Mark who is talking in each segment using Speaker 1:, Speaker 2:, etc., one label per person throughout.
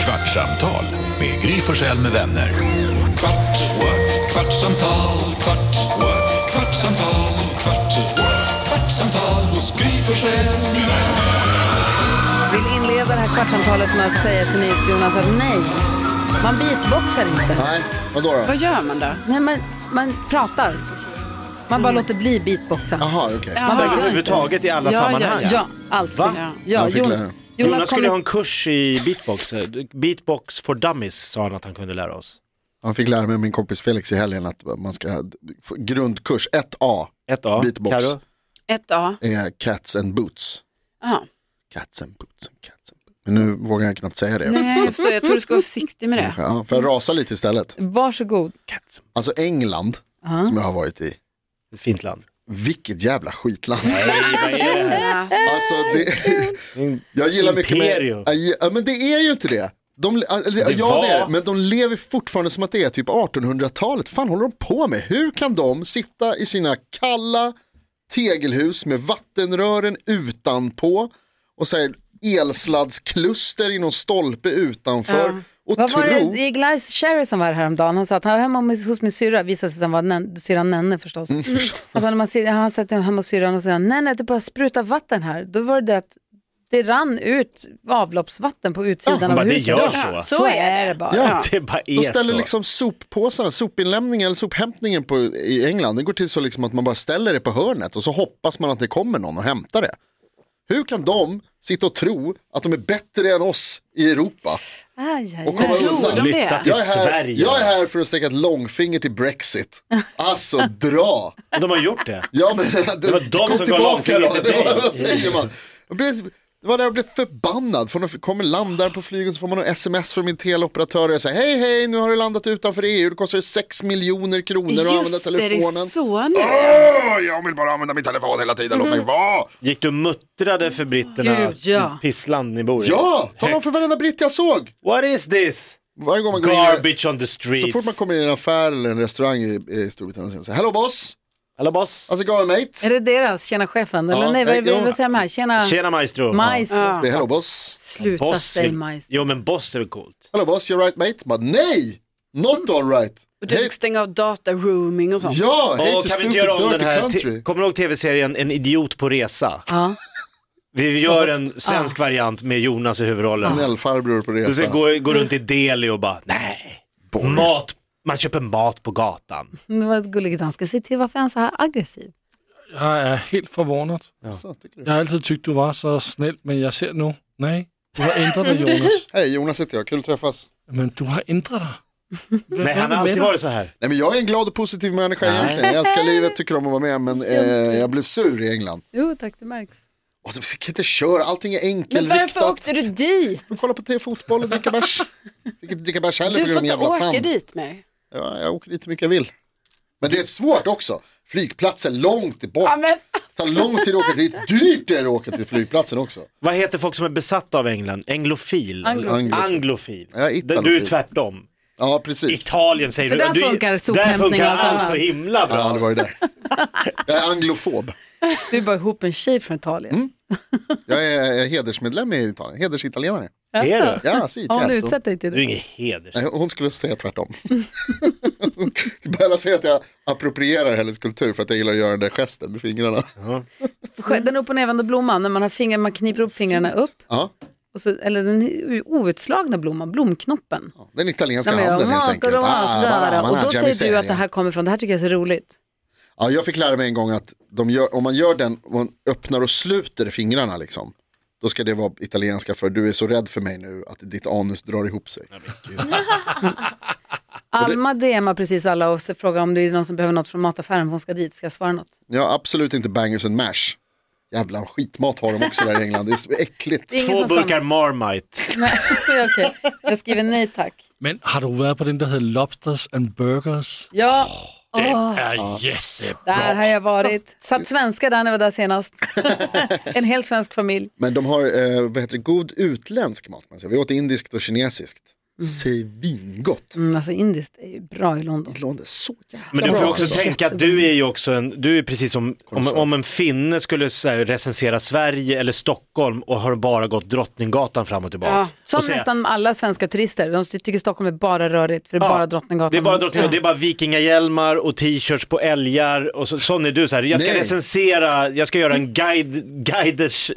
Speaker 1: kvartsamtal med Gry Forssell med vänner. Kvart, what? kvartsamtal, kvart, what? kvartsamtal, kvart, what? kvartsamtal hos Gry Forssell med vänner.
Speaker 2: vill inleda det här kvartsamtalet med att säga till NyhetsJonas att nej, man beatboxar inte.
Speaker 3: Nej, vadå då?
Speaker 4: Vad gör man då?
Speaker 2: Nej, man, man pratar. Man bara låter bli beatboxa.
Speaker 3: Jaha, okej.
Speaker 2: Man bara, gör inte.
Speaker 5: Mm. Överhuvudtaget i alla
Speaker 4: Ja,
Speaker 5: sammanhang.
Speaker 4: ja,
Speaker 2: Ja, alltid.
Speaker 5: Va?
Speaker 2: Ja,
Speaker 3: Man fick
Speaker 2: Jon-
Speaker 3: lära.
Speaker 2: Jonas
Speaker 5: Jonas skulle ha
Speaker 2: kommer...
Speaker 5: en kurs i beatbox. Beatbox for dummies sa han att han kunde lära oss.
Speaker 3: Han fick lära mig av min kompis Felix i helgen att man ska, få grundkurs 1A
Speaker 5: Ett A.
Speaker 3: Beatbox.
Speaker 5: Karo?
Speaker 4: Ett A.
Speaker 3: är Cats and Boots.
Speaker 4: Jaha.
Speaker 3: Cats and Boots, and cats and boots. Men nu vågar jag knappt säga det.
Speaker 4: Nej, jag förstår. Jag tror du ska vara försiktig med det.
Speaker 3: Ja, för jag rasar lite istället.
Speaker 2: Varsågod.
Speaker 3: Alltså England, som jag har varit i.
Speaker 5: Ett fint land.
Speaker 3: Vilket jävla skitland.
Speaker 4: Ja.
Speaker 3: Alltså, det, jag gillar mycket
Speaker 5: Imperium.
Speaker 3: med... Ja, men det är ju inte det. De, eller, ja,
Speaker 5: var-
Speaker 3: det är det, men de lever fortfarande som att det är typ 1800-talet. fan håller de på med? Hur kan de sitta i sina kalla tegelhus med vattenrören utanpå och så här elsladdskluster i någon stolpe utanför och
Speaker 2: Vad var
Speaker 3: tro...
Speaker 2: det? Det är Glyce Cherry som var här häromdagen. Han sa att han var hemma hos- hos min syrra, visade sig sen vara nen, syrran Nenne förstås.
Speaker 5: Mm.
Speaker 2: Alltså när man ser, han satt hemma hos syrran och sa, nej nej det bara sprutar vatten här. Då var det det att det rann ut avloppsvatten på utsidan
Speaker 5: Ja,
Speaker 2: av
Speaker 5: bara, det
Speaker 2: huset.
Speaker 5: gör så.
Speaker 2: så. är det bara.
Speaker 3: Ja.
Speaker 5: Det bara är
Speaker 3: De ställer
Speaker 5: så.
Speaker 3: liksom soppåsarna, sopinlämningen eller sophämtningen på, i England, det går till så liksom att man bara ställer det på hörnet och så hoppas man att det kommer någon och hämtar det. Hur kan de sitta och tro att de är bättre än oss i Europa?
Speaker 2: Aj, aj,
Speaker 3: Och komma
Speaker 4: tror
Speaker 3: undan?
Speaker 4: de det?
Speaker 5: Flytta till
Speaker 3: Jag är, här,
Speaker 5: Sverige.
Speaker 3: jag är här för att sträcka ett långfinger till Brexit. Alltså dra!
Speaker 5: Och de har gjort det.
Speaker 3: Ja, men, det
Speaker 5: var de som gav långfingret till dig.
Speaker 3: Vad säger man? Jag blev, det var där jag blev förbannad. För när jag kommer landar på flyget så får man en sms från min teleoperatör. Och jag säger hej hej, nu har du landat utanför EU. Det kostar 6 miljoner kronor att använda
Speaker 4: Just det, det är
Speaker 3: telefonen.
Speaker 4: så nu.
Speaker 3: Åh, jag vill bara använda min telefon hela tiden, låt mig
Speaker 4: Mm-hmm.
Speaker 3: vara.
Speaker 5: Gick du och muttrade för britterna?
Speaker 2: Gud, ja.
Speaker 5: Pissland ni bor i.
Speaker 3: Ja, tala om för varenda britt jag såg.
Speaker 5: What is this?
Speaker 3: Varje gång man går in, i-
Speaker 5: Garbage on the streets.
Speaker 3: så fort man kommer in i en affär eller en restaurang i, i Storbritannien så säger hello boss,
Speaker 5: Hallå boss.
Speaker 3: how's it going mate?
Speaker 2: Är det deras, tjena chefen?
Speaker 3: Ja,
Speaker 2: Eller nej,
Speaker 3: eh,
Speaker 2: vad, vad,
Speaker 3: jo.
Speaker 2: vad säger de här? Tjena,
Speaker 5: Tjena maestro.
Speaker 2: majs.
Speaker 3: Det är hello boss.
Speaker 2: Sluta
Speaker 5: Boss
Speaker 2: säg
Speaker 5: vill-
Speaker 2: majs.
Speaker 5: Jo men boss är väl coolt.
Speaker 3: Hello boss, you're right mate? Bara, nej, not all right.
Speaker 4: Och du
Speaker 3: Hej-
Speaker 4: fick stänga av data roaming och sånt.
Speaker 3: Ja, hate to
Speaker 5: Åh, kan vi
Speaker 3: stupid
Speaker 5: inte göra om den
Speaker 3: dirty
Speaker 5: här?
Speaker 3: country.
Speaker 5: Te- Kommer du ihåg tv-serien En idiot på resa?
Speaker 2: Ja.
Speaker 5: Vi gör en svensk variant med Jonas i huvudrollen.
Speaker 3: Gnällfarbror på
Speaker 5: Du ska
Speaker 3: resa.
Speaker 5: gå, gå runt i Delhi och bara, nej, mat. Man köper mat på gatan.
Speaker 2: Det var ett gulligt danska. Säg till, varför är han så här aggressiv?
Speaker 6: Jeg er helt forvånet.
Speaker 3: Så, tycker du.
Speaker 6: Jeg har altid tykt, du var så snil, men jeg ser nu, nej, du har ændret dig, Jonas.
Speaker 3: Hej, Jonas heter jag, kul att träffas.
Speaker 6: Men du har ændret dig. Hvad
Speaker 5: Nej, han
Speaker 6: er det
Speaker 5: har
Speaker 6: med
Speaker 5: alltid
Speaker 6: dig?
Speaker 5: varit så här.
Speaker 3: Nej men jag är en glad och positiv människa egentligen. Jag älskar livet, tycker om att vara med men eh, jag blev sur i England.
Speaker 2: Jo tack, det märks.
Speaker 3: Åh, de kan inte köra, allting är
Speaker 4: Men varför
Speaker 3: enkelriktat.
Speaker 4: åkte du dit?
Speaker 3: De kollar på TV-fotboll och dricker bärs. Fick inte dricka bärs heller på
Speaker 4: Du
Speaker 3: grund
Speaker 4: får
Speaker 3: av min
Speaker 4: inte
Speaker 3: jävla
Speaker 4: åka
Speaker 3: tand.
Speaker 4: dit mer.
Speaker 3: Ja, jag åker dit hur mycket jag vill. Men det är svårt också. Flygplatsen långt bort.
Speaker 4: Ja, men-
Speaker 3: Tar lång tid att åka dit. Dyrt är det att åka till flygplatsen också.
Speaker 5: Vad heter folk som är besatta av England? Englofil?
Speaker 3: Anglofil.
Speaker 5: Anglofil.
Speaker 3: Ja, italofil.
Speaker 5: du är tvärtom.
Speaker 3: Ja, precis.
Speaker 5: Italien säger
Speaker 2: För
Speaker 5: du.
Speaker 2: där
Speaker 5: du.
Speaker 2: funkar
Speaker 5: Där
Speaker 2: sophämtning
Speaker 5: funkar
Speaker 2: och allt
Speaker 5: allt så
Speaker 2: annat.
Speaker 5: himla bra.
Speaker 3: Jag har aldrig varit där. Jag är anglofob.
Speaker 2: Du är bara ihop en tjej från Italien.
Speaker 3: Mm, Jag är, jag är hedersmedlem i Italien. Hedersitalienare.
Speaker 5: Är
Speaker 2: Alltså,
Speaker 5: du?
Speaker 3: Ja, si,
Speaker 2: har hon
Speaker 3: certo.
Speaker 2: utsatt dig till
Speaker 5: Du är
Speaker 2: det?
Speaker 5: ingen heders.
Speaker 3: Nej, hon skulle säga tvärtom. Bella säger att jag approprierar hennes kultur för att jag gillar att göra den där gesten med fingrarna.
Speaker 2: Sjö- Den upp och nervända blomman, när man har fingrar, man kniper upp fingrarna upp.
Speaker 3: Ja,
Speaker 2: Och så, eller den outslagna blomman, blomknoppen.
Speaker 3: den italienska
Speaker 2: Nej, men jag
Speaker 3: handen helt
Speaker 2: makar
Speaker 3: enkelt. Ah,
Speaker 2: och asgöra. Och då säger du
Speaker 3: giannisseria.
Speaker 2: att det här kommer från, det här tycker jag är så roligt.
Speaker 3: Ja, jag fick lära mig en gång att de gör, om man gör den, om man öppnar och sluter fingrarna liksom. Då ska det vara italienska för du är så rädd för mig nu att ditt anus drar ihop sig.
Speaker 2: Alma DMar precis alla och så frågar om det är någon som behöver något från mataffären, hon ska dit, ska jag svara något?
Speaker 3: Jag har absolut inte bangers and mash. Jävla skitmat har de också där i England, det är så äckligt.
Speaker 2: Det är ingen
Speaker 5: Två
Speaker 2: som stannar.
Speaker 5: burkar Marmite.
Speaker 2: Nej, okej. Jag skriver nej tack.
Speaker 6: Men har du været på den, der hedder Lobsters and Burgers?
Speaker 2: Ja,
Speaker 6: Ja, yes.
Speaker 2: där har jag varit. Satt svenska där när jag var där senast. en hel svensk familj.
Speaker 3: Men de har eh, vad heter det, god utländsk mat. Man säger. Vi åt indiskt och kinesiskt. Svingott.
Speaker 2: Mm, alltså indiskt är ju bra i London.
Speaker 3: Låter så jävla
Speaker 5: Men du får
Speaker 3: bra.
Speaker 5: också
Speaker 3: alltså.
Speaker 5: tänka att du är ju också en, du är precis som, om, om en finne skulle så här, recensera Sverige eller Stockholm och har bara gått Drottninggatan fram och tillbaka.
Speaker 4: Ja,
Speaker 2: Som
Speaker 5: och säga,
Speaker 2: nästan alla svenska turister, de tycker Stockholm är bara rörigt för det är
Speaker 5: Ja,
Speaker 2: bara Drottninggatan.
Speaker 5: Det är bara Drottninggatan, det är bara vikingahjälmar och t-shirts på älgar och så, sån är du så här. Jag ska
Speaker 3: Nej.
Speaker 5: recensera, jag ska göra en guide, guiders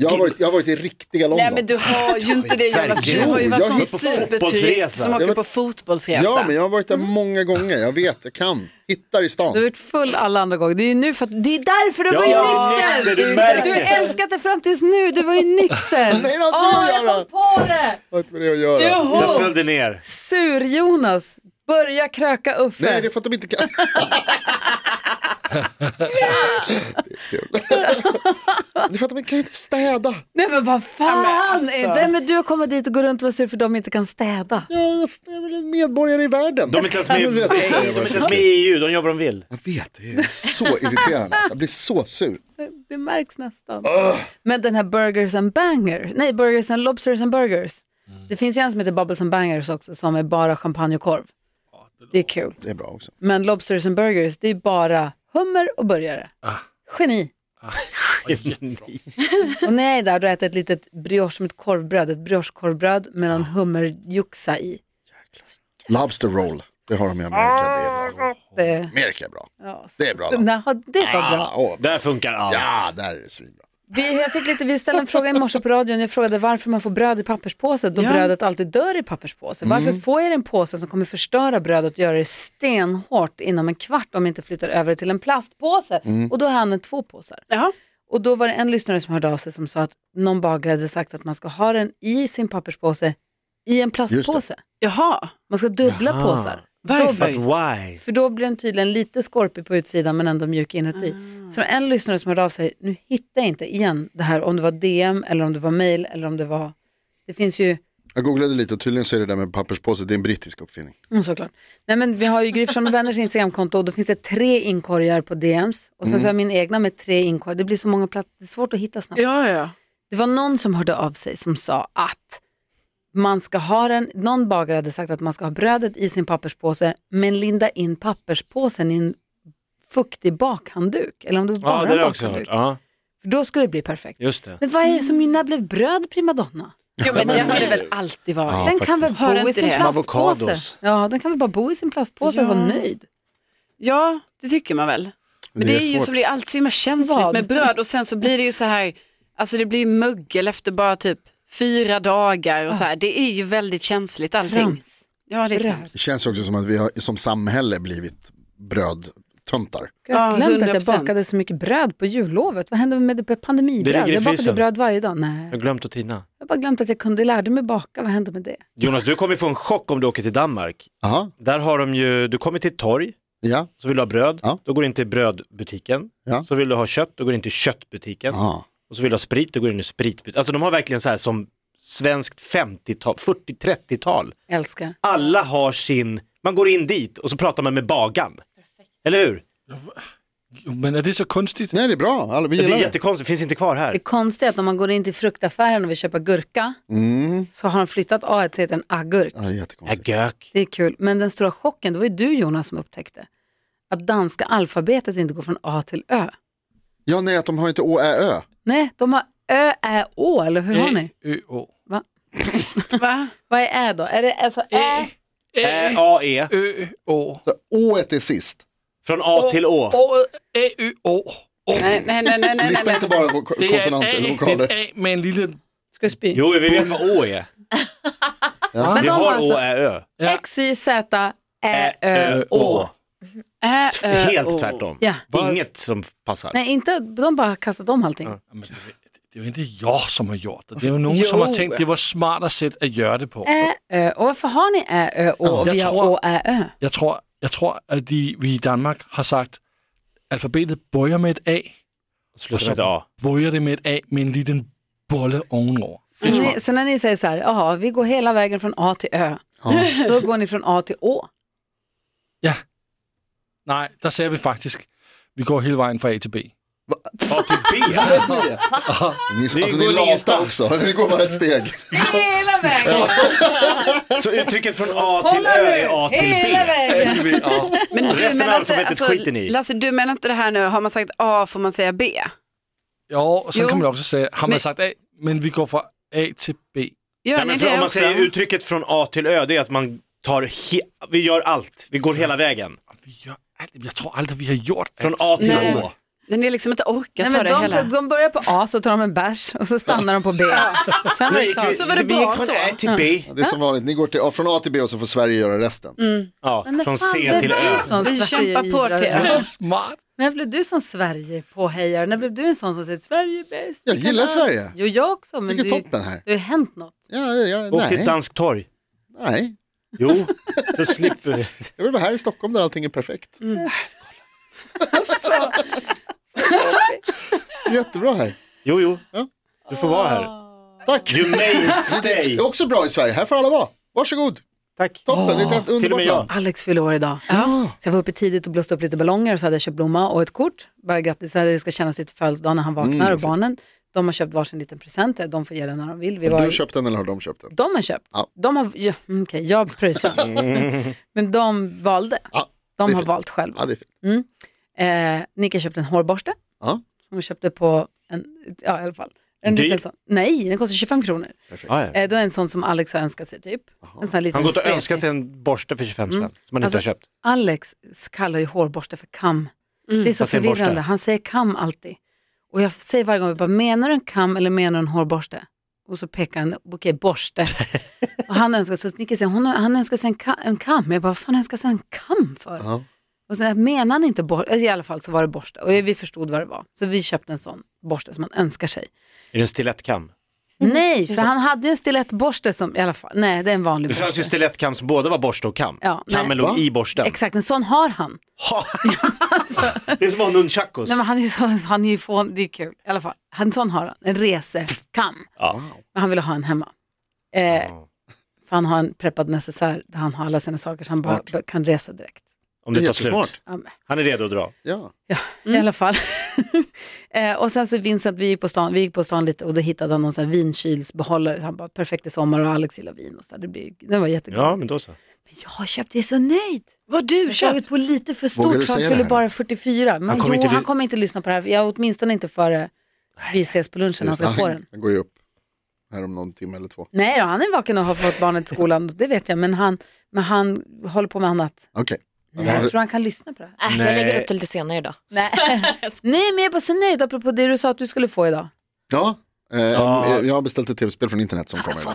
Speaker 3: jag, har varit, jag har varit i riktiga London.
Speaker 4: Nej, men du har ju inte det Jonas. Du
Speaker 5: Verkligen.
Speaker 4: har ju
Speaker 3: Jo,
Speaker 4: varit
Speaker 3: jag
Speaker 4: sån
Speaker 3: gick på
Speaker 5: fotbollsresa.
Speaker 4: superturist som
Speaker 3: Jag
Speaker 4: åker
Speaker 3: vet-
Speaker 4: på fotbollsresa.
Speaker 3: Ja, men jag har varit där många gånger. Jag vet, jag kan. Hittar i
Speaker 2: Mm. Du har
Speaker 3: stan.
Speaker 2: varit full alla andra gånger. Det är, ju nu för att, det är därför du var ju
Speaker 5: Ja,
Speaker 2: nykter!
Speaker 5: du
Speaker 2: Du
Speaker 5: märker.
Speaker 2: har älskat det fram tills nu, du var ju nykter.
Speaker 3: Nej, det har inte
Speaker 2: Åh, jag kom
Speaker 3: med det att göra.
Speaker 2: på det!
Speaker 3: Vad har inte med det att göra?
Speaker 5: Jag
Speaker 2: Joho!
Speaker 5: följde ner.
Speaker 2: Sur-Jonas, börja kröka Uffe.
Speaker 3: Nej, det är för att de inte kan. det är kul. det är för att de kan inte städa.
Speaker 2: Nej, men vad fan!
Speaker 4: alltså.
Speaker 2: Vem Ah, är du att komma dit och gå runt och vara sur för de inte kan städa?
Speaker 3: Jag, jag är väl en medborgare i världen.
Speaker 5: De är inte ens med, i-
Speaker 3: Jag
Speaker 5: de är inte ens med i EU, de gör vad de vill.
Speaker 3: vet, det är så irriterande. Jag blir så sur.
Speaker 2: Det märks nästan. Men den här Burgers and Bangers, nej Burgers and Lobsters and Burgers. Det finns ju en som heter Bubbles and Bangers också som är bara champagne och korv. Det är kul.
Speaker 3: Det är bra också.
Speaker 2: Men Lobsters and Burgers, det är bara hummer och burgare. Geni. Och när jag är där då äter jag ett litet brioche som ett korvbröd, ett briochekorvbröd med en hummerjuxa i.
Speaker 3: Lobster roll, det har de i Amerika. Det är bra.
Speaker 2: Det,
Speaker 3: Amerika är bra.
Speaker 2: ja, så-
Speaker 3: Det är bra. va?
Speaker 2: Nej, det var bra.
Speaker 3: Ah, åh.
Speaker 5: Där funkar allt.
Speaker 3: Ja, där är det svinbra.
Speaker 2: Vi, jag fick lite, vi ställde en fråga i morse på radion. Jag frågade varför man får bröd i papperspåse då brödet alltid dör i papperspåse. Varför
Speaker 4: Mm.
Speaker 2: får jag en påse som kommer förstöra brödet och göra det stenhårt inom en kvart om jag inte flyttar över det till en plastpåse?
Speaker 4: Mm.
Speaker 2: Och då har jag använt två påsar.
Speaker 4: Ja.
Speaker 2: Och då var det en lyssnare som hörde av sig som sa att någon bagare hade sagt att man ska ha den i sin papperspåse i en plastpåse.
Speaker 4: Jaha,
Speaker 2: Man ska dubbla påsar.
Speaker 5: But
Speaker 4: varför?
Speaker 5: why?
Speaker 2: För då blir den tydligen lite skorpig på utsidan men ändå mjuk inuti. Så en lyssnare som hörde av sig, nu hittar jag inte igen det här om det var DM eller om det var mail eller om det var, det finns ju,
Speaker 3: Jag googlade lite och tydligen så är det där med papperspåse, det är en brittisk uppfinning.
Speaker 2: mm, såklart. Nej men vi har ju Gryfsson och vänners Instagramkonto och då finns det tre inkorgar på DMs och sen så har jag min egna med tre inkorgar, det blir så många platser, det är svårt att hitta snabbt.
Speaker 4: Ja, ja.
Speaker 2: Det var någon som hörde av sig som sa att man ska ha den, någon bagare hade sagt att man ska ha brödet i sin papperspåse men linda in papperspåsen i en fuktig bakhandduk. Eller om det var bara
Speaker 5: Ja, det
Speaker 2: en
Speaker 5: har jag också hört.
Speaker 2: bakhandduk.
Speaker 5: Ja,
Speaker 2: För då skulle det bli perfekt.
Speaker 5: just det.
Speaker 2: Men vad är det som,
Speaker 4: Mm.
Speaker 2: när blev bröd primadonna?
Speaker 4: Jo, men det har det väl alltid varit.
Speaker 2: den kan väl
Speaker 4: Har
Speaker 2: bo i
Speaker 4: inte
Speaker 2: sin
Speaker 4: det?
Speaker 2: plastpåse?
Speaker 5: Avocados.
Speaker 2: Ja, den kan väl bara bo i sin plastpåse och vara nöjd.
Speaker 4: Ja, det tycker man väl. Men det,
Speaker 3: det är
Speaker 4: är, ju
Speaker 3: svårt.
Speaker 4: så blir allt så himla känsligt
Speaker 2: Vad?
Speaker 4: med bröd och sen så blir det ju så här, alltså det blir mögel efter bara typ fyra dagar och så här. Det är ju väldigt känsligt allting.
Speaker 2: Trams.
Speaker 4: Ja, det är
Speaker 2: Bröd.
Speaker 4: trams.
Speaker 3: Det känns också som att vi har som samhälle blivit brödtöntar.
Speaker 2: Jag har
Speaker 4: Ja,
Speaker 2: glömt att jag
Speaker 4: 100%.
Speaker 2: bakade så mycket bröd på jullovet. Vad hände med det pandemibröd?
Speaker 5: Det ligger i
Speaker 2: jag bakade
Speaker 5: frysen.
Speaker 2: bröd varje dag. Nej,
Speaker 5: Jag har glömt att tina.
Speaker 2: jag har bara glömt att jag kunde, lärde mig baka. Vad hände med det?
Speaker 5: Jonas, du kommer få en chock om du åker till Danmark.
Speaker 3: Aha,
Speaker 5: Där har de ju, du kommer till ett torg,
Speaker 3: ja,
Speaker 5: så vill du ha bröd,
Speaker 3: Ja.
Speaker 5: då går du in till brödbutiken.
Speaker 3: Ja.
Speaker 5: Så vill du ha kött, då går du in till köttbutiken.
Speaker 3: aha.
Speaker 5: Och så vill du ha sprit, då går du in i spritbutiken. Alltså de har verkligen så här som svenskt 50-tal, 40-30-tal.
Speaker 2: Älskar.
Speaker 5: Alla har sin, man går in dit och så pratar man med bagaren. Eller hur?
Speaker 6: Jo, men är det så konstigt?
Speaker 3: Nej, det är bra. Alla, vi
Speaker 5: Det
Speaker 3: gillar
Speaker 5: är
Speaker 3: det.
Speaker 5: jättekonstigt, finns inte kvar
Speaker 2: Det
Speaker 5: här.
Speaker 2: konstiga är att när man går in till fruktaffären och vill köpa gurka så har de flyttat A till en agurk.
Speaker 3: Ja, det är jättekonstigt.
Speaker 5: Agök.
Speaker 2: Det är kul. Men den stora chocken, det var ju du Jonas som upptäckte att danska alfabetet inte går från A till Ö.
Speaker 3: Ja, nej, att de har inte å, ä, ö.
Speaker 2: Nej, de har Ö, Ä, Å, eller hur
Speaker 5: Eh.
Speaker 2: har ni?
Speaker 6: Ö, Å.
Speaker 4: Va?
Speaker 2: Vad är Ä då? Är det alltså
Speaker 5: Eh.
Speaker 2: Ä?
Speaker 5: Ä, Äh, A-E.
Speaker 6: Ö, Å.
Speaker 3: Så, ået är sist.
Speaker 5: Från A till Å.
Speaker 6: Å, Ä, Ö, Å. Å.
Speaker 4: Nej, nej, nej, nej, nej,
Speaker 3: Lista
Speaker 4: nej.
Speaker 3: inte bara vo-
Speaker 6: Det är ett
Speaker 3: konsonanter eller
Speaker 6: Ä, det är
Speaker 3: vokaler.
Speaker 6: ett Ä med en liten...
Speaker 2: Ska du spy?
Speaker 5: Jo, vi vet vad Å är.
Speaker 2: Men
Speaker 5: Vi
Speaker 2: de har
Speaker 5: har Å,
Speaker 2: alltså
Speaker 5: Ä, Ö.
Speaker 6: Ja.
Speaker 2: X, Y, Z, Ä,
Speaker 5: Ä,
Speaker 2: Ö,
Speaker 5: Ö, Å.
Speaker 4: Ä, ö, å.
Speaker 5: Helt tvärtom.
Speaker 2: Ja.
Speaker 5: Inget som passar.
Speaker 2: Nej, inte, de bara kastat om allting.
Speaker 6: Men det, det är ju inte jag som har gjort det. Det är ju någon som har tänkt det var smartare sätt att göra det på.
Speaker 2: Ä, Ö, och varför har ni Ä, Ö, Å och
Speaker 6: Jag
Speaker 2: vi har
Speaker 6: tror-
Speaker 2: Å, Ä, Ö?
Speaker 6: Jeg tror, jeg tror at de, vi i Danmark har sagt, alfabetet bøjer med et A, og
Speaker 5: Slutar med ett
Speaker 6: så
Speaker 5: A.
Speaker 6: bøjer det med et A med en liten bolle ovenover.
Speaker 2: Så, ni, så när ni säger så här, jaha, vi går hela vägen från A till Ö, då går ni från A till Å.
Speaker 6: Ja. Nej, der ser vi faktisk, vi går hele vejen fra A til B.
Speaker 5: A till B?
Speaker 3: Sett ni det? Ni, alltså, ni
Speaker 5: går
Speaker 3: är lata
Speaker 5: ingenstans.
Speaker 3: också, vi går bara ett steg.
Speaker 2: Hela vägen!
Speaker 5: Så uttrycket från A till
Speaker 2: Hålla
Speaker 5: Ö
Speaker 2: nu,
Speaker 5: är A till B?
Speaker 2: hela vägen.
Speaker 5: A till B, ja.
Speaker 4: Men du
Speaker 5: Resten
Speaker 4: menar
Speaker 5: av
Speaker 4: inte,
Speaker 5: alfabetet
Speaker 4: alltså,
Speaker 5: skiter ni i.
Speaker 4: Lasse, du menar inte det här nu, har man sagt A får man säga B?
Speaker 6: Ja, och sen
Speaker 4: Jo.
Speaker 6: kan man också säga, har man
Speaker 4: Men-
Speaker 6: sagt A, men vi går från A till B.
Speaker 4: Gör
Speaker 5: Nej,
Speaker 4: ni det
Speaker 5: men för om man
Speaker 4: också?
Speaker 5: säger uttrycket från A till Ö, det är att man tar, he- vi gör allt, vi går hela vägen.
Speaker 6: Vi gör aldrig, jag tror aldrig vi har gjort
Speaker 5: Från
Speaker 6: allt.
Speaker 5: A till
Speaker 4: Nej.
Speaker 5: Å.
Speaker 4: Men det är liksom inte orkat
Speaker 2: Nej,
Speaker 4: ta
Speaker 2: men
Speaker 4: det
Speaker 2: de,
Speaker 4: hela.
Speaker 2: tog, de börjar på A, så tar de en bärs och så stannar de på B. Sen är det klart.
Speaker 4: Så var det
Speaker 5: vi
Speaker 4: bra
Speaker 5: gick från
Speaker 4: så?
Speaker 5: Ä till B,
Speaker 3: Det är som vanligt, ni går till, ja, från A till B och så får Sverige göra resten.
Speaker 5: ja,
Speaker 2: Men när
Speaker 5: från
Speaker 2: fan
Speaker 5: C
Speaker 2: blev
Speaker 5: till
Speaker 2: du
Speaker 5: Ö.
Speaker 2: sån
Speaker 4: Vi kämpar på
Speaker 2: Sverigeivrare?
Speaker 4: till Ö.
Speaker 6: Det är Smart.
Speaker 2: När blev du som Sverige påhejare? När blev du en sån som säger Sverige är bäst?
Speaker 3: Jag gillar Sverige.
Speaker 2: Jo, jag också. Men
Speaker 3: Tycker
Speaker 2: du,
Speaker 3: toppen här.
Speaker 2: det har ju hänt något.
Speaker 3: Ja, ja,
Speaker 5: Åk till
Speaker 3: nej,
Speaker 5: ett danskt torg.
Speaker 3: nej,
Speaker 5: Jo, då slipper vi.
Speaker 3: jag vill vara här i Stockholm där allting är perfekt. Jättebra här.
Speaker 5: Jo, jo.
Speaker 3: Ja.
Speaker 5: Du får vara här.
Speaker 3: Tack.
Speaker 5: You may
Speaker 3: Det
Speaker 5: stay.
Speaker 3: är också bra i Sverige, här får alla vara. Varsågod,
Speaker 5: Tack.
Speaker 3: toppen, det är ett helt
Speaker 5: Ah, Till och
Speaker 3: underbart
Speaker 5: med jag.
Speaker 3: land.
Speaker 2: Alex fyller år idag. Så jag var uppe tidigt och blåste upp lite ballonger och så hade jag köpt blomma och ett kort. Bara grattis, så här, det ska kännas lite födelsedag när han vaknar
Speaker 3: Mm.
Speaker 2: och barnen. De har köpt varsin liten present, de får ge den när de vill. Vi
Speaker 3: Du
Speaker 2: var Mm.
Speaker 3: har köpt den eller har de köpt den?
Speaker 2: De har köpt.
Speaker 3: Ja.
Speaker 2: De har, ja, mm, okej, jag pröjsade. Men de valde.
Speaker 3: Ja,
Speaker 2: De
Speaker 3: det är
Speaker 2: har
Speaker 3: fint.
Speaker 2: valt själva.
Speaker 3: Ja, det är fint.
Speaker 2: Eh, Nika köpte en hårborste
Speaker 3: Ja.
Speaker 2: som hon köpte på en, ja i alla fall. En
Speaker 5: Dyr.
Speaker 2: liten sån. Nej, den kostar 25 kronor.
Speaker 5: Ja, ja.
Speaker 2: Eh, det var en sån som Alex har önskat sig typ. En sån här liten
Speaker 5: Han har gått och
Speaker 2: spretig.
Speaker 5: önskat sig en borste för 25 spänn som han inte
Speaker 2: Alltså,
Speaker 5: har köpt.
Speaker 2: Alex kallar ju hårborste för kam. Det är så
Speaker 5: Fast det är en borste.
Speaker 2: förvirrande. Han säger kam alltid. Och jag säger varje gång, jag bara, menar du en kam eller menar du en hårborste? Och så pekar han, okej borste. och han önskar sig, Nicky säger, hon, han önskar sig en, ka, en kam. Jag bara, vad fan önskar sig en kam för?
Speaker 3: Ja.
Speaker 2: Och sen menar han inte borste, i alla fall så var det borste. Och vi förstod vad det var. Så vi köpte en sån borste som man önskar sig.
Speaker 5: Är det en stilettkam?
Speaker 2: Nej, för han hade ju en stilettborste som, i alla fall, nej det är en vanlig
Speaker 5: Det
Speaker 2: borste.
Speaker 5: fanns ju stilettkam som både var borste och kam.
Speaker 2: Ja, nej.
Speaker 5: Kammen låg
Speaker 3: Va?
Speaker 5: i borsten.
Speaker 2: Exakt, en sån har han.
Speaker 5: Det är som att ha nunchakos.
Speaker 2: Nej, men han är ju så, han är ju fån, det är kul. I alla fall, han sån har han, en resekam.
Speaker 5: Ja.
Speaker 2: Men han ville ha en hemma. Eh, för han har en preppad necessär där han har alla sina saker så han bara, bara kan resa direkt.
Speaker 5: Om det tar
Speaker 3: Jättesmart.
Speaker 5: slut.
Speaker 2: Ja, men,
Speaker 5: Han är redo att dra.
Speaker 3: Ja.
Speaker 2: I alla fall. eh, och sen så Vincent, vi gick, på stan, vi gick på stan lite och då hittade han någon sån här vinkylsbehållare. Så Han bara, perfekt i sommar och Alex gillar vin och så där. Det, blir, det var jätteglad.
Speaker 5: Ja, men då så.
Speaker 2: Men jag har köpt, jag är så nöjd.
Speaker 4: Vad du
Speaker 2: Jag
Speaker 4: köpt?
Speaker 2: på lite för
Speaker 3: Vågar
Speaker 2: stort
Speaker 3: du
Speaker 2: för han
Speaker 3: säga det
Speaker 2: fyller
Speaker 3: här?
Speaker 2: bara 44. Men han
Speaker 5: Han kommer
Speaker 2: jo,
Speaker 5: inte ly-
Speaker 2: han kommer inte lyssna på det här. Jag åtminstone inte före vi ses på lunchen. Han ska få den.
Speaker 3: Den går ju upp här om någon timme eller två.
Speaker 2: Nej, då, han är vaken och har fått barnet till skolan. Det vet jag. Men han, men han håller på med annat.
Speaker 3: Okej.
Speaker 2: Nej, jag tror han kan lyssna på det här.
Speaker 7: Äh, jag lägger upp det lite senare idag.
Speaker 2: Nej. Nej, men jag är bara så nöjd apropå det du sa att du skulle få idag.
Speaker 3: Ja, eh,
Speaker 5: Ja.
Speaker 3: jag har beställt ett tv-spel från internet som kommer.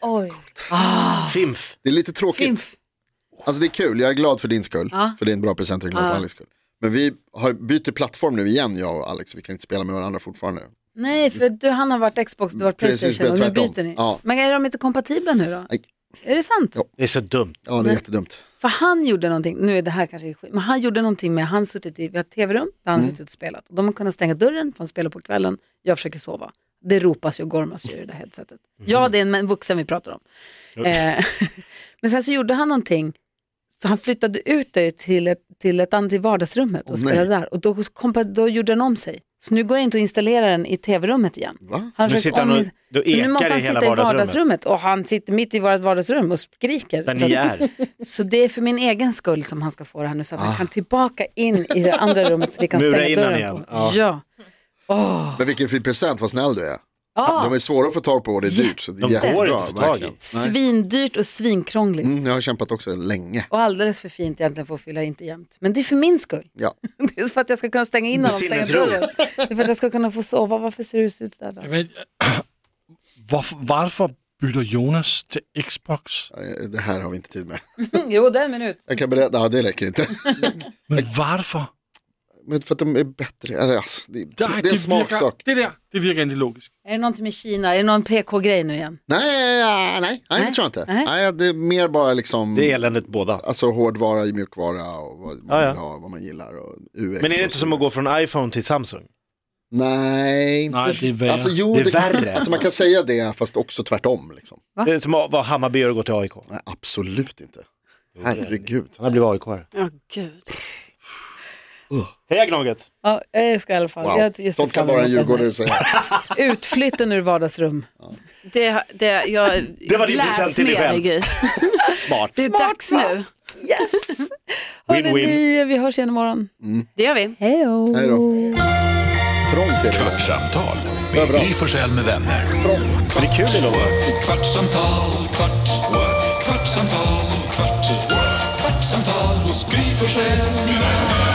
Speaker 2: Oj. Ah.
Speaker 5: Fimf.
Speaker 3: Det är lite tråkigt.
Speaker 2: Fimf.
Speaker 3: Alltså det är kul, jag är glad för din skull. För det är en bra present och jag är glad för Alex skull. Men vi har byter plattform nu igen, jag och Alex. Vi kan inte spela med varandra fortfarande.
Speaker 2: Nej, för du, han har varit Xbox, du har varit
Speaker 3: Precis,
Speaker 2: Playstation och nu
Speaker 3: tvärtom.
Speaker 2: byter ni.
Speaker 3: Ja.
Speaker 2: Men är de inte kompatibla nu då?
Speaker 3: Nej.
Speaker 2: Är det sant?
Speaker 3: Ja.
Speaker 5: Det är så dumt.
Speaker 3: Ja, det är jättedumt.
Speaker 2: För han gjorde någonting, nu är det här kanske skit, men han gjorde någonting med, han suttit i, vi har ett tv-rum där
Speaker 5: Mm.
Speaker 2: han suttit och spelat. De har kunnat stänga dörren, för han spelar på kvällen, jag försöker sova. Det ropas ju och gormas ju i det där headsetet.
Speaker 5: Mhm.
Speaker 2: Ja, det är en- en vuxen vi pratar om. Eh, men sen så gjorde han någonting, så han flyttade ut det till ett, till ett annat, till vardagsrummet och
Speaker 3: Åh,
Speaker 2: spelade
Speaker 3: nej.
Speaker 2: där. Och då, kompa, då gjorde den om sig. Så nu går det inte att installera den i tv-rummet igen.
Speaker 3: Va?
Speaker 2: Han
Speaker 5: Så nu
Speaker 2: försökte
Speaker 5: sitter han och-
Speaker 2: omin-
Speaker 5: då
Speaker 2: så nu
Speaker 5: ekar
Speaker 2: måste
Speaker 5: det
Speaker 2: han
Speaker 5: i hela
Speaker 2: sitta i
Speaker 5: vardagsrummet.
Speaker 2: vardagsrummet och han sitter mitt i vårt vardagsrum och skriker.
Speaker 5: Där
Speaker 2: Så-
Speaker 5: ni är.
Speaker 2: så det är för min egen skull som han ska få det här nu så att
Speaker 3: Ah.
Speaker 2: han kan tillbaka in i det andra rummet så vi kan
Speaker 5: Mura
Speaker 2: stänga
Speaker 5: in han
Speaker 2: dörren
Speaker 5: igen.
Speaker 2: på.
Speaker 3: Ah.
Speaker 5: Ja.
Speaker 2: Ja.
Speaker 3: Men vilken fin present, vad snäll du är.
Speaker 2: Ja.
Speaker 3: De är svåra att få tag på och det är dyrt. Så det är
Speaker 5: De
Speaker 3: jättebra,
Speaker 5: går inte att få tag i.
Speaker 3: verkligen. Nej.
Speaker 2: Svindyrt och svinkrångligt.
Speaker 3: Mm, jag har kämpat också länge.
Speaker 2: Och alldeles för fint egentligen för att fylla inte jämt. Men det är för min skull.
Speaker 3: Ja.
Speaker 2: Det är för att jag ska kunna stänga in honom och stänga
Speaker 5: Sinnesro.
Speaker 2: dörren. Det är för att jag ska kunna få sova. Varför ser det ut sådär?
Speaker 6: Jag vet, varför, varför byter Jonas till Xbox?
Speaker 3: Det här har vi inte tid med.
Speaker 2: Mm, Jo, det är en minut.
Speaker 3: Jag kan berätta, ja, det räcker inte.
Speaker 6: Men varför?
Speaker 3: Men för att de är bättre, eller, alltså, det, är- det är
Speaker 5: typ,
Speaker 3: en
Speaker 6: virker,
Speaker 3: smaksak.
Speaker 6: det, där, det virker inte logiskt.
Speaker 2: Är det någonting med Kina? Är det någon PK-grej nu igen?
Speaker 3: Nej, nej, nej, nej, det
Speaker 2: Nej.
Speaker 3: tror jag inte.
Speaker 2: Nej.
Speaker 3: Nej. det är mer bara liksom
Speaker 5: Det är eländet båda.
Speaker 3: alltså, hårdvara, mjukvara och vad man,
Speaker 5: Ja, ja.
Speaker 3: Vill ha, vad man gillar. Och UX
Speaker 5: Men är
Speaker 3: och
Speaker 5: det inte
Speaker 3: så
Speaker 5: som att gå från iPhone till Samsung?
Speaker 3: Nej, inte.
Speaker 6: Nej, det är värre.
Speaker 3: Alltså, jo,
Speaker 5: Det är värre.
Speaker 3: Alltså, man kan säga det, fast också tvärtom. Liksom.
Speaker 5: Det är som att vara Hammarby och gå till AIK.
Speaker 3: Nej, absolut inte. Herregud.
Speaker 5: Han har blivit AIK.
Speaker 4: Ja, gud.
Speaker 5: Heja Gnaget!
Speaker 2: Ja, jag älskar i alla fall.
Speaker 3: Wow.
Speaker 2: Jag, jag ser
Speaker 3: Sånt kan
Speaker 2: fram
Speaker 3: bara en
Speaker 2: emot den här.
Speaker 3: djurgårdare säga.
Speaker 2: Utflytten ur vardagsrum.
Speaker 4: Det, det, jag
Speaker 5: Det var din
Speaker 4: gläds
Speaker 5: present till dig
Speaker 4: med
Speaker 5: själv.
Speaker 4: Gry.
Speaker 5: Smart.
Speaker 4: Det är
Speaker 2: Smart,
Speaker 4: dags
Speaker 2: va?
Speaker 4: nu.
Speaker 2: Yes!
Speaker 5: Win-win.
Speaker 2: Hörrni, vi hörs igen imorgon.
Speaker 4: Det gör vi.
Speaker 2: Hej
Speaker 3: Hej då. Trångt är det. där.
Speaker 1: Kvartsamtal med
Speaker 3: Överallt.
Speaker 1: Gry Forssell med vänner.
Speaker 5: Det är kul det låter.
Speaker 1: Kvartsamtal, kvart, what? kvartsamtal, kvart, what? kvartsamtal hos Gry Forssell med vänner.